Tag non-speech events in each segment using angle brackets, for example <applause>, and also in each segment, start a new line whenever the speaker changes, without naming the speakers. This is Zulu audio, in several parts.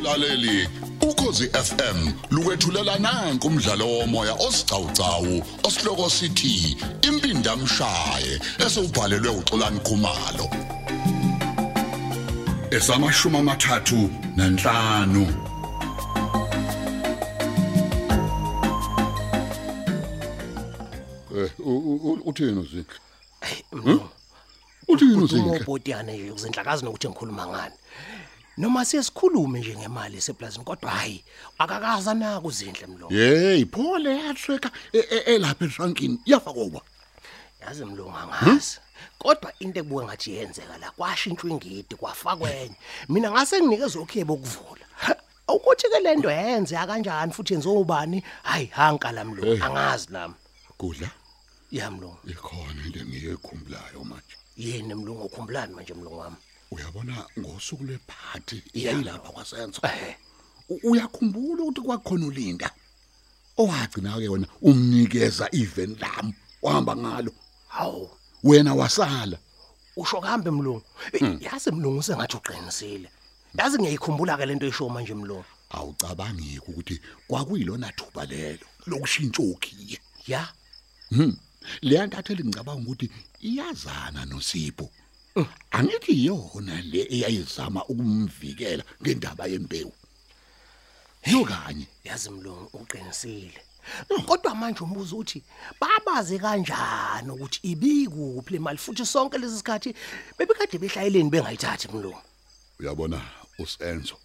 mlaleli ukhosi FM lukwethulela nanku umdlalo womoya osiqhawqhawo osihloko sithi impinda mshaye esubhalelwe uXolani Khumalo esamashuma amathathu nanhlanu
Eh, u- u- u- uthini uzinhle
mlo
uthini uzinhle
Hmm? umobhotiyana nje uzindlakazi nokuthi ngikhuluma ngani noma sesikhulume nje ngemali eseplazini kodwa hayi akakaza naku zindle mlo
hey phole yathweka e, elapha eshankini yafakwa
yazi mlo ngangazi kodwa into ekubuke ngathi yenzeka la kwashintshwa ingidi kwafakwenye mina ngase nginikeze okhe bokuvula <laughs> ukuthi ke lento yenze kanjani futhi enzobani hayi hanka la mlo
Hey.
angazi nami
kudla
yamlo
ikhona into engiyekhumbulayo manje
yini mlo ngokhumbulani manje mlo wami
uyabona ngosuku lwephathi
Yeah.
iyilapha kwasenzo
ehe
U- uyakhumbula ukuthi kwakhona ulinda owagcina ke wena umnikeza even lam wahamba ngalo
hawu
wena wasala
usho kambe mlungu Eh, yazi mlungu sengathi uqinisile yazi ngiyayikhumbula ke lento esho manje mlungu
awucabangiki ukuthi kwakuyilona thuba lelo lokushintsha ukhiye
ya
leya ntatheli ngicabanga ukuthi iyazana noSipho angithi iyona le eyayizama ukumvikela ngendaba yembewu yokanye
yazi mlungu uqinisile kodwa manje umbuzo uthi babaze kanjani ukuthi ibikuphi le mali futhi sonke lesi sikhathi bebekade behlayeleni bengayithathi mlungu
uyabona uSenzo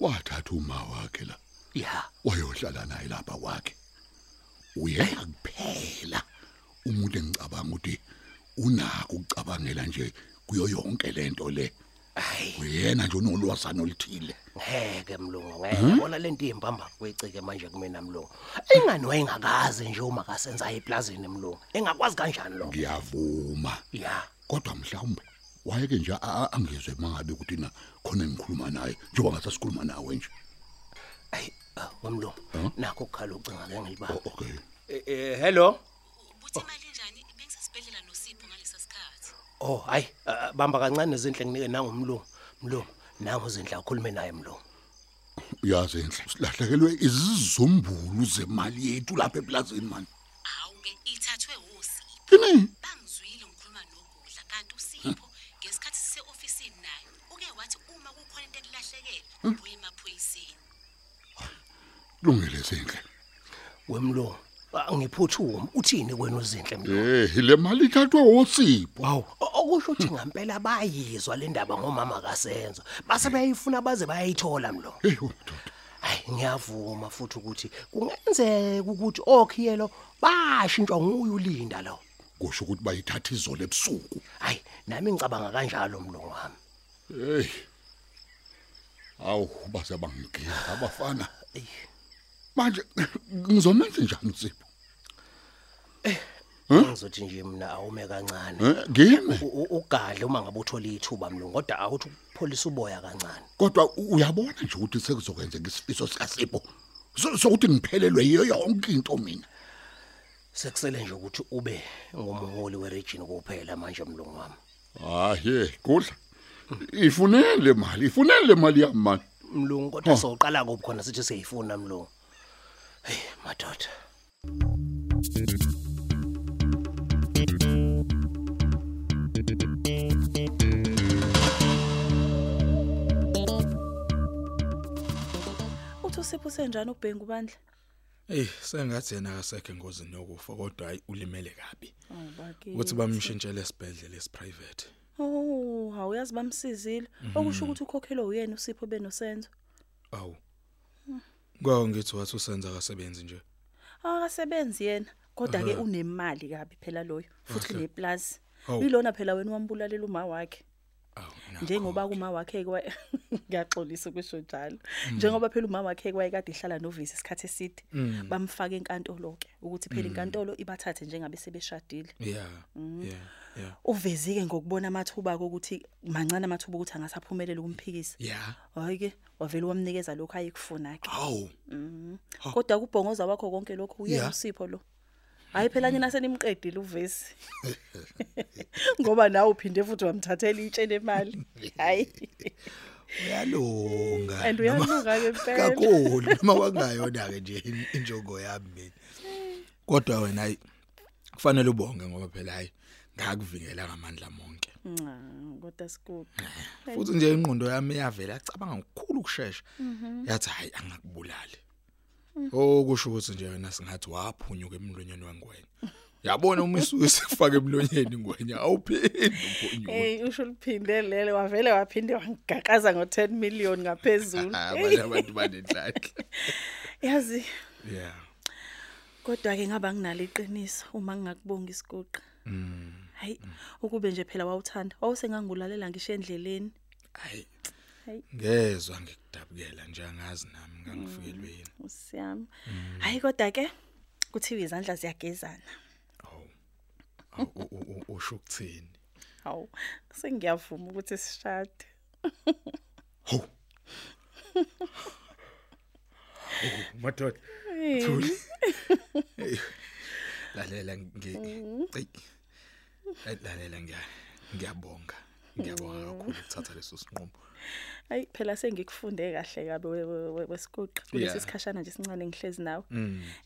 wathatha uma wakhe la
ya
wayohlala naye lapha kwakhe uyaya kuphela umuntu engicabanga ukuthi unako ukucabangela nje kuyo yonke lento le
hayi
uyena nje unolwazana oluthile
ngeke mlungu ngeke bona le nto iyimpamba kwecike manje kumina mlungu ingani wayengakaze nje uma kasenza eplazini mlungu engakwazi kanjani lo
ngiyavuma
ya
kodwa mhlawumbe wayeke nje a- a- angizwe mangabe ukuthi na khona engikhuluma naye njengoba ngasasikhuluma nawe nje
ayi wamlungu uh, nakho ukukhala ucinga ke ngilibamba
okay
Hmm? Eh, eh hello.
Ubuthi imali njani? Bengisasibedlela noSipho ngalesa sikhathi.
Oh, hayi, ah, bamba kancane izinhle nginike nangumlungu. Mlungu, nangu izinhle ukhulume naye mlungu.
uyazi enhle silahlekelwe izizumbulu zemali yethu lapha eplazini manje
Hawu ke ithathwe uSipho.
ini
Bangizwile ngikhuluma noGudla kanti uSipho ngesikhathi sise-officeini naye uke wathi uma kukhona into ekulahlekela ubuye emaphoyiseni.
lungele senhle
Wemlungu, ah, ngiphuthuma. Uthini kwenu izinhle mlungu?
eh le mali ithathwe osipho
Wow, o- okusho ukuthi ngempela bayizwa le ndaba ngomama kaSenzo. Base bayifuna baze bayayithola mlungu.
hey madoda
Hayi, ngiyavuma futhi ukuthi kungenzeka ukuthi okhiyelo bashintshwa nguye ulinda lo.
kusho ukuthi bayithatha izolo ebusuku
Hayi, nami ngicabanga kanjalo mlungu wami.
hey awu base bangigiya abafana manje ngizomenza njani usipho
Ngizothi nje mina awume kancane.
eh ngime
U- u- ugadle uma ngabe uthola ithuba mlungu kodwa awuthi ukupholisa uboya kancane
kodwa u- uyabona nje ukuthi sekuzokwenzeka isifiso sikaSipho so- sokuthi ngiphelelwe yiyo yonke into mina
sekusele nje ukuthi ube ngumholi weregion kuphela manje mlungu wami
hayi eh, kudla ifunele imali ifunele imali yamani
mlungu kodwa soqala kuphi khona sithi siyayifuna mlungu hey madoda
uthi usipho usenjani ubhengu bandla
Ey, sengathi yena akasekho engozini yokufa kodwa hayi ulimele kabi.
awubaki
Ukuthi bamshintshele esibhedlela esiprivate.
oh awuyazi bamsizile okusho ukuthi ukhokhelwe uyena usipho benosenzo
Awu.
Hmm.
Ngawo ngithi wathi usenza akasebenzi nje.
akasebenzi yena kodwa ke
Ehhe.
unemali kabi phela loyo futhi
Kahle.
neplazi
Hawu.
yilona phela wena wambulalela uma wakhe
Awu. nakho.
njengoba kuma wakhe kwa <laughs> ngiyaxolisa ukusho njalo njengoba phela uma wakhe kwayekade ihlala novisi isikhathi eside bamfaka enkantolo ke ukuthi phela inkantolo ibathathe njengabe sebeshadile
Yeah.
Hmm.
Yeah. Yeah.
uvezike ngokubona amathuba ukuthi mancane amathuba ukuthi angasaphumeleli kumphikisa
Yeah.
hayi ke wavele wamnikeza lokho ayekufuna ke
Awu.
kodwa kubhongoza wakho konke lokho uye
ah. Ya. Mm.
usipho lo hayi phela nyina senimqedile
<laughs>
uvesi ngoba nawe uphinde futhi wamthathela itshe lemali hayi
uyalunga
And
noma-
uyalunga-ke
<laughs>
impela.
kakhulu noma kwakungayona ke nje in- injongo yami mina kodwa wena hayi kufanele ubonge ngoba phela hayi ngakuvikela ngamandla monke
Mm, kodwa sikude.
futhi nje ingqondo yami yavela yacabanga ngokukhulu ukusheshsha yathi hayi angakubulali okusho ukuthi nje wena singathi waphunyuka emlonyeni wengwenya yabona uma isuke sifake emlonyeni ingwenya awuphindi uphunyuka
Hey usho liphinde lele wavele waphinde wangigaqaza ngo10 million
<laughs>
ngaphezulu.
abanye
Hey,
Ah, abantu banenhlanhla
Yazi
yeah
kodwa ke ngaba nginalo iqiniso uma ngingakubonga isiguqa. Mm. Hayi ukube nje phela wawuthanda wawusengangulalela ngisho endleleni.
hayi
Hayi.
ngezwe ngikudabukela nje angazi nami ngangifikelwe yini
Usiyami.
Mm.
Hayi kodwa ke kuthiwa izandla ziyagezana.
Oh, Awu, u- u- u- oh, usho ukuthini
Hawu sengiyavuma ukuthi sishade.
ho Oh, madoda
Hey, <laughs>
thuli Hey, lalela ngi
Mm-hmm.
eyi, eh, lalela ngiya ngiyabonga ngiyabonga
Mm-hmm.
kakhulu ukuthatha leso sinqumo
Hayi phela sengikufunde kahle kabe we- we- we- wesiguqa kulesi
Yeah. Mm.
sikhashana nje sincane ngihlezi nawe.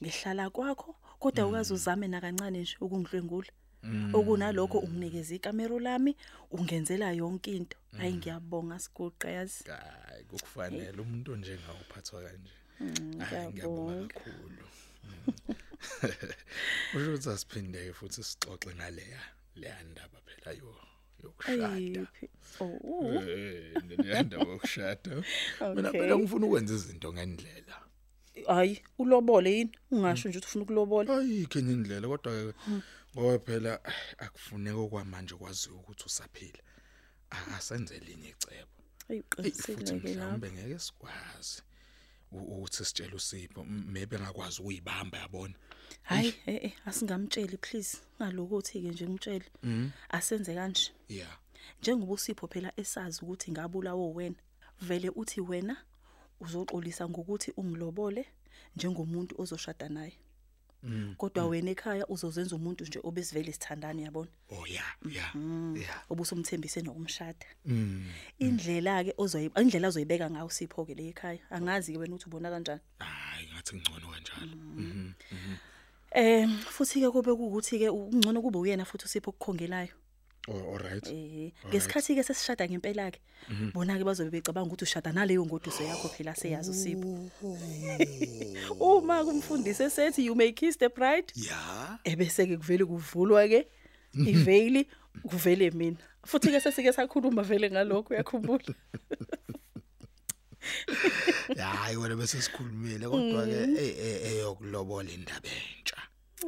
Ngihlala kwakho kodwa ukaze uzame na kancane nje ukungidlwengula.
Mm.
Okunalokho unginikeza ikamera lami ungenzela yonke into.
Mm.
Hayi ngiyabonga siguqa yazi.
hayi kukufanele umuntu njengawuphathwa kanje Hhayi,
Mm-hmm, ngiyabonga.
kakhulu <laughs> Mm. usho ukuthi asiphinde futhi sixoxe ngaleya leya ndaba phela yo- yokushada
Ayiphi? Oh.
Eh, leya ndaba yokushada mina
Okay.
phela ngifuna ukwenza izinto ngendlela
Hayi ulobole yini? Ungasho nje ukuthi ufuna ukulobola.
ayikho enye indlela kodwa-ke ngoba phela akufuneki okwamanje kwaziwe ukuthi usaphila akasenze linye icebo
Hayi
Eyi, futhi
uqinisekile ke lapho.
mhlawumbe ngeke sikwazi u- ukuthi sitshele usipho M- maybe engakwazi ukuyibamba yabona
Hayi eh eh asingamtsheli please. Ngalokuthi ke nje ngimtshele. Asenze kanje.
ya
Njengoba usipho phela esazi ukuthi ngabulawo wena. Vele uthi wena uzoxolisa ngokuthi ungilobole njengomuntu ozoshada naye. Kodwa wena ekhaya uzozenza umuntu nje obesivele sithandane yabona.
oh ya ya
Hmm.
Hmm. ya
obusumthembise nokumshada. Indlela ke ozoyi indlela ozoyibeka ngayo Sipho ke le ekhaya. Angazi ke wena uthi ubona kanjani.
hayi ngathi ngcono kanjalo
Eh futhi ke kube ukuthi ke ungcono kube uyena futhi uSipho okukhongelayo.
Oh, all right
Eh ngesikhathi ke sesishada ngempela ke bona ke bazobe becabanga ukuthi ushada naleyo ngoduso yakho phela seyazi uSipho. <laughs> Uma kumfundise sethi you may kiss the bride
ya
ebese ke kuvele kuvulwa ke iveil kuvele mina. Futhi ke sesike sakhuluma vele ngalokho uyakhumbula.
hayi wena bese sikhulumile kodwa-ke eh, eh, eyokulobola indaba entsha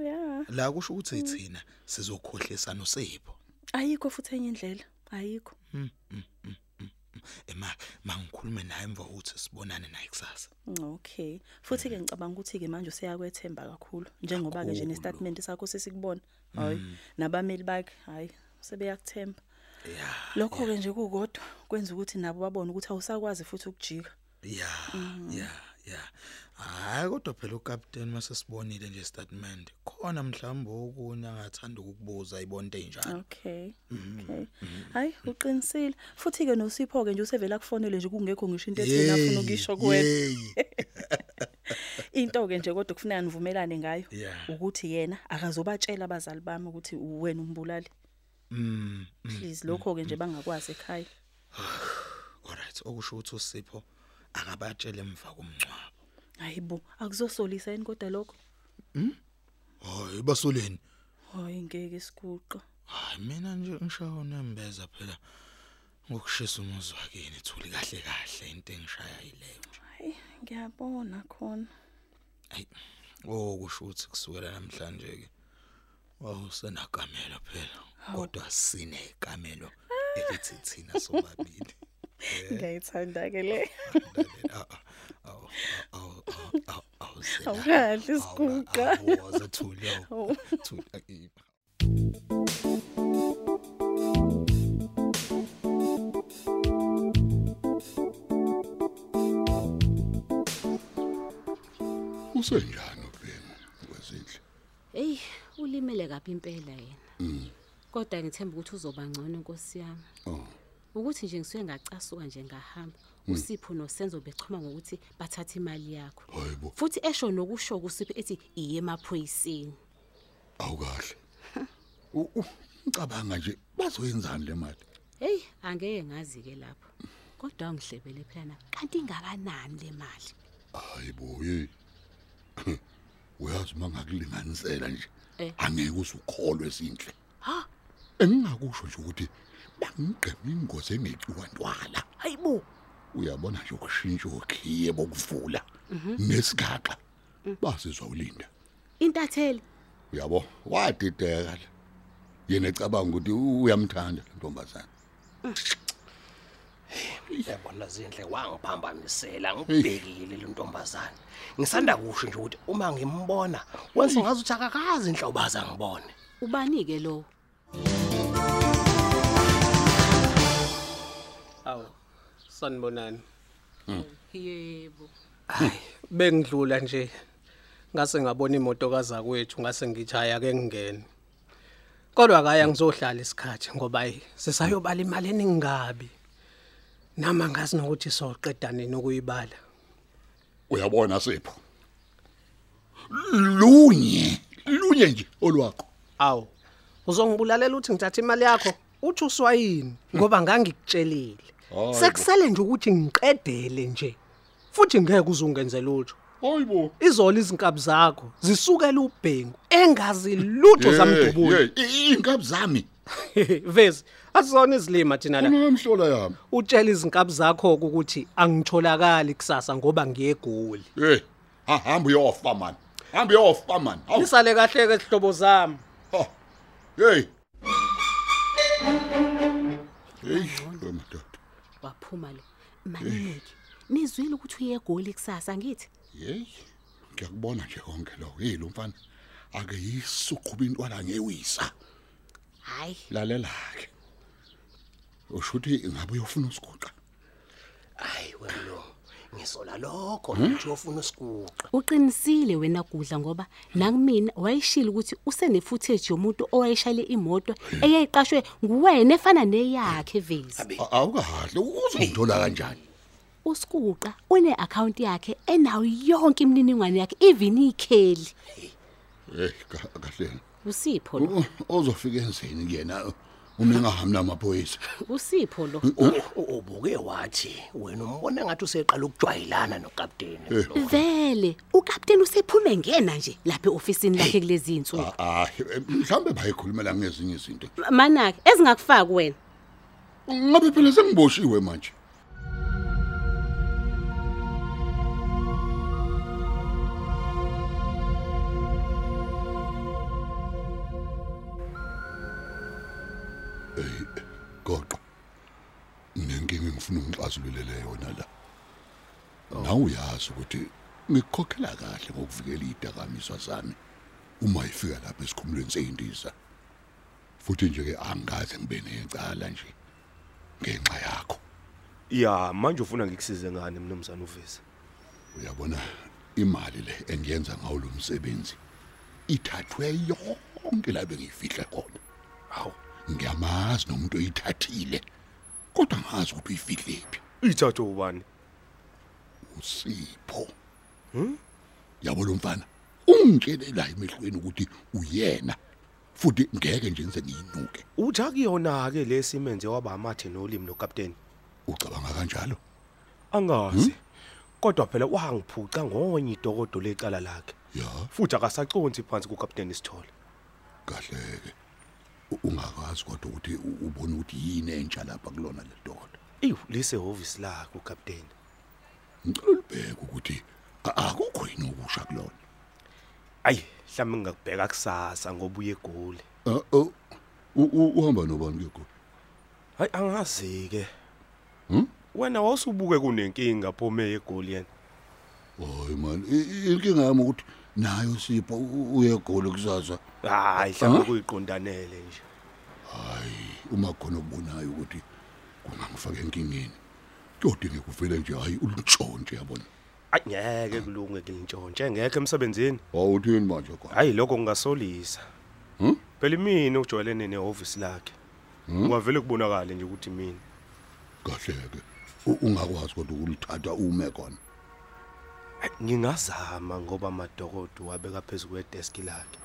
Yeah.
la kusho ukuthi thina sizokhohlisana usipho
ayikho futhi enye indlela ayikho
ema mangikhulume naye emva ukuthi sibonane naye kusasa
okay futhi ke ngicabanga ukuthi ke manje useyakwethemba kakhulu njengoba ke nje nestatement sakho sesikubona hayi nabameli bakhe hayi sebeyakuthemba lokho ke nje kukodwa kwenza ukuthi nabo babone ukuthi awusakwazi futhi ukujika
ya ya ya hayi kodwa phela ukapteni mase sibonile nje statement khona mhlawumbe okunye angathanda ukukubuza ibonto
Ah,
enjalo
okay okay hayi uqinisile futhi ke noSipho ke nje usevela kufonele nje kungekho ngisho into ethina afuna ukisho kuwena into ke nje kodwa kufanele nivumelane ngayo
Yeah.
ukuthi yena akazobatshela abazali bami ukuthi wena umbulali
Mm.
please lokho ke nje bangakwazi ekhaya
alright okusho ukuthi usipho akabatshele emva komncwabo
hayibo akuzosolisa yini kodwa lokho
hayi basoleni
hayi ngeke isiguqa
hayi mina nje ngishayo nembeza phela ngokushisa umuzwa kini thuli kahle kahle into engishaya yileyo nje
hayi ngiyabona khona
Ayi. Oh kusho ukuthi kusukela namhlanje ke. Wawusenakamelo phela. Kodwa sine ikamelo elithi thina sobabili.
ngiyayithanda ke le
Aw aw aw aw.
awukahle isiguqa
Wazathula. Thula.
Usenjani uBhengu wezindle?
Hey, ulimele kabi impela yena. Kodwa ngithemba ukuthi uzoba ngcono Nkosi yami.
Oh,
ukuthi nje ngisuke ngacasuka nje ngahamba usipho nosenzo bechoma ngokuthi bathathe imali yakho
Hayibo.
futhi esho nokusho kusipho ethi iye emaphoyiseni
awukahle U- u- ngicabanga nje bazoyenzani le mali
heyi angeke ngazi ke lapho kodwa ngihlebele phela kanti ingakanani le mali
hayibo ye <clears throat> uyazi mangakulinganisela nje
Eh.
angeke usukholwe sinhle
ha
engingakusho nje ukuthi bangigqema ingozi engecuwantwala
Hayibo.
uyabona nje ukushintsha ukhiye bokuvula
Mhm.
nesigaxa
Mm.
basizwa ulinda
intatheli
uyabo wadideka la yena ecabanga ukuthi u- uyamthanda lo ntombazana
yabona zinhle wangiphambamisela ngibhekile lo ntombazana ngisanda kusho nje ukuthi uma ngimbona wenza ngazi ukuthi akakazi inhlobaza ngibone
ubani-ke lowo
Aw. Sanibonani.
yebo
Hayi, bengidlula nje. Ngase ngabona imoto kazakwethu ngase ngijaya ke ngingene. Kodwa akaya ngizohlala isikhathi ngoba ayi, sisayobala imali eningabi. Nama ngazi nokuthi soqedane nokuyibala.
uyabona sipho lunye lunye nje olwakho
Aw. Uzongibulalela uthi ngithatha imali yakho. Uthi uswayini ngoba ngangikutshelile. Sekusele nje ukuthi ngiqedele nje. Futhi ngeke uzungenze lutho.
hayibo
izolo izinkabi zakho zisukela ubhengu engazi lutho zamdubula
inkabi zami
<laughs> vezi asizona izilima thina la
unamhlola yami
utshela izinkabi zakho ukuthi angitholakali kusasa ngoba ngiyegoli
hey ha hamba uyofa man hamba uyofa man Hawu.
nisale kahle ke sihlobo zami
Ha. hey hey lo madoda
waphuma lo maneneki nizwile ukuthi uye egoli kusasa ngithi
Yey, ngiyakubona nje konke lo. Yini umfana? Ake yisuqhuba intwana ngewisa.
hhayi
Lalela ke. Ushuthi ngabe uyofuna usiguqa.
hayi wemlungu ngisola lokho nje ofuna isiguqa
uqinisile wena gudla ngoba nakumina wayeshile ukuthi usenefootage yomuntu owayeshayele imoto eyayiqashwe nguwena efana neyakhe vezi
A- Awukahle, uzongithola kanjani?
usikuqa une-akhawunti yakhe enayo yonke imininingwane yakhe even ikheli
Eh, ka- kahle.
usipho lo
U- Ozofika enzeni kuyena? Uma engahamba namaphoyisa.
usipho lo
ubuke wathi wena umbona ngathi useqala ukujwayelana nokapteni
vele ukapteni usephume ngena nje lapha e-ofisini lakhe kulezi nsuku
Hayi, mhlambe bayikhulumela ngezinye izinto.
manake ezingakufaki wena
Ngabe phela sengiboshiwe manje. Goqo. Nenkinga ngifuna ungixazululele yona la. Nawu uyazi ukuthi ngikukhokhela kahle ngokuvikela idakamizwa zami uma ifika lapha esikhumulweni seyindiza. Futhi nje ke angikaze ngibe necala nje ngenxa yakho.
ya manje ufuna ngikusize ngani mnumzane uvezi
Uyabona imali le engiyenza ngawo lo msebenzi ithathwe yonke la bengiyifihla khona. Hawu, ngiyamazi nomuntu oyithathile. Kodwa ngazi ukuthi uyifihlephi.
ithathe ubani
usipho hm yabo lo mfana ungitshele la emehlweni ukuthi uyena futhi ngeke nje ngize ngiyinuke
uthi akuyona-ke lesi menze waba amathe nolimi lokapteni
ucabanga kanjalo
angazi kodwa phela wangiphuca ngonye idokodo lecala lakhe
ya
futhi akasaconsi phansi kukapteni isithole
kahle ke ungakwazi kodwa ukuthi u- ubone ukuthi yini entsha lapha kulona le dodo
ewu lisehhovisi lakhe ukapteni
ngicela ulibheke ukuthi a- akukho yini okusha kulona
ayi mhlawumbe ngingakubheka kusasa ngoba uye egoli
Uh, oh, u- u- uhamba nobani ke kodwa
hayi angazi-ke wena wawusubuke kunenkinga phome egoli yena
hayi man i- i- inkinga yami ukuthi nayo sipho u- uye egoli kusasa
hayi mhlawumbe kuyiqondanele nje
hayi uma khona okubonayo ukuthi kungangifaka enkingeni kuyodinga kuvele nje hayi ulutshontshe yabona
ayi ngeke kulunge ngilintshontshe ngekho emsebenzini
awuthini manje kwa
hayi lokho kungasolisa phela imini ujwayelene nehhovisi lakhe kungavele kubonakale nje ukuthi mina
kahleke u- ungakwazi kodwa ukulithatha ume khona
Ayi, ngingazama ngoba madokodo wabeka phezulu kwedeski lakhe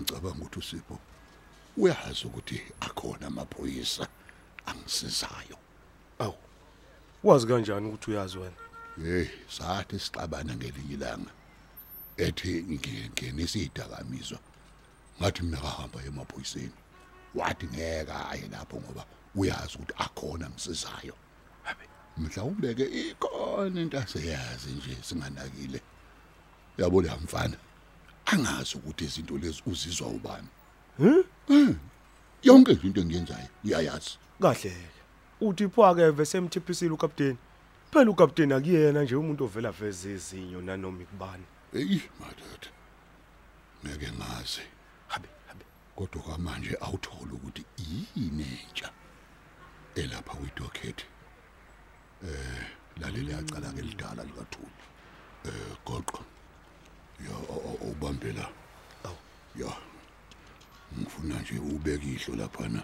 ngicabanga ukuthi usipho uyazi ukuthi akhona amaphoyisa angisizayo
awu wazi kanjani ukuthi uyazi wena
hey sathi sixabana ngelinye ilanga ethi ngingenisa idakamizwa ngathi mina kahamba emaphoyiseni wathi ngeke aye lapho ngoba uyazi ukuthi akhona angisizayo mhlawumbe ke ikhona into aseyazi nje singanakile yabo la mfana angazi ukuthi izinto lezi uzizwa ubani Hmm. yonke into engiyenzayo uyayazi
kahleke uthi pho-ke vese emthiphisile ukapteni phela ukapteni akuyena nje umuntu ovela veze izinyo nanoma ikubani
eyi madoda ngeke ngazi
habe habe
kodwa kwamanje awuthola ukuthi yini entsha elapha kwidocket eh lalela yacala ke lidala likathuli eh goqo ya o- o- ubambe la
Awu.
ya ngifuna nje ubeke ihlo lapha na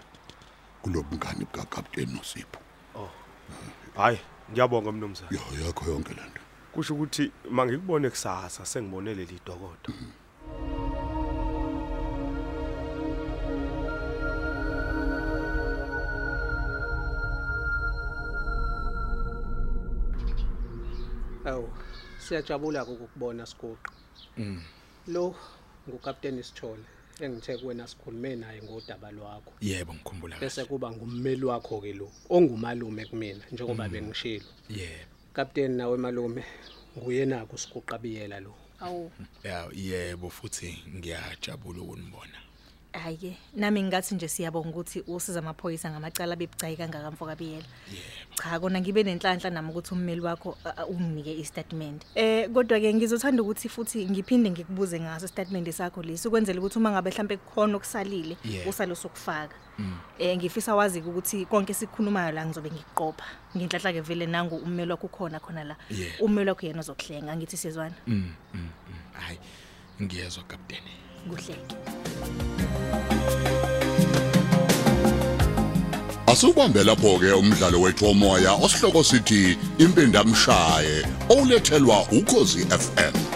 kulobungani bukakapteni nosipho
hayi ngiyabonga mnumzane
ya yakho yonke lanto
kusho ukuthi mangikubone kusasa sengibone leli dokodo
Aw, siyajabula ukukubona Siguqa. Mm. Lo ngukapteni Sithole engithe kuwena sikhulume naye ngodaba lwakho.
Yebo ngikhumbula. kahle.
Bese kuba ngummeli wakho ke lo ongumalume kumina njengoba bengishilo.
Yebo.
Kapteni nawe malume nguye nako Siguqa biyela lo.
awu
Ya yebo futhi ngiyajabula ukunibona.
hhayi-ke nami ngingathi nje siyabonga ukuthi usiza amaphoyisa ngamacala bebucayi kangaka mfokabiyela cha kona ngibe nenhlanhla nami ukuthi ummeli wakho uh, uh, unginike isitatimende um kodwa-ke ngizothanda ukuthi futhi ngiphinde ngikubuze ngaso isitatimende sakho lesi ukwenzela ukuthi uma ngabe hlampe kukhona okusalile
Yeah.
usalo sokufaka um ngifisa wazi-ke ukuthi konke esikhulumayo la ngizobe ngikuqopha ngenhlahla-ke vele nangu ummeli wakho ukhona khona la
Yeah.
ummeli wakho yena ozokuhlenga ngithi siyezwana
Mm. mm, mm. Hayi ngiyezwa kapteni.
kuhleke
Asubambe lapho ke umdlalo wethu womoya osihloko sithi impindamshaye olethelwa ukhozi FM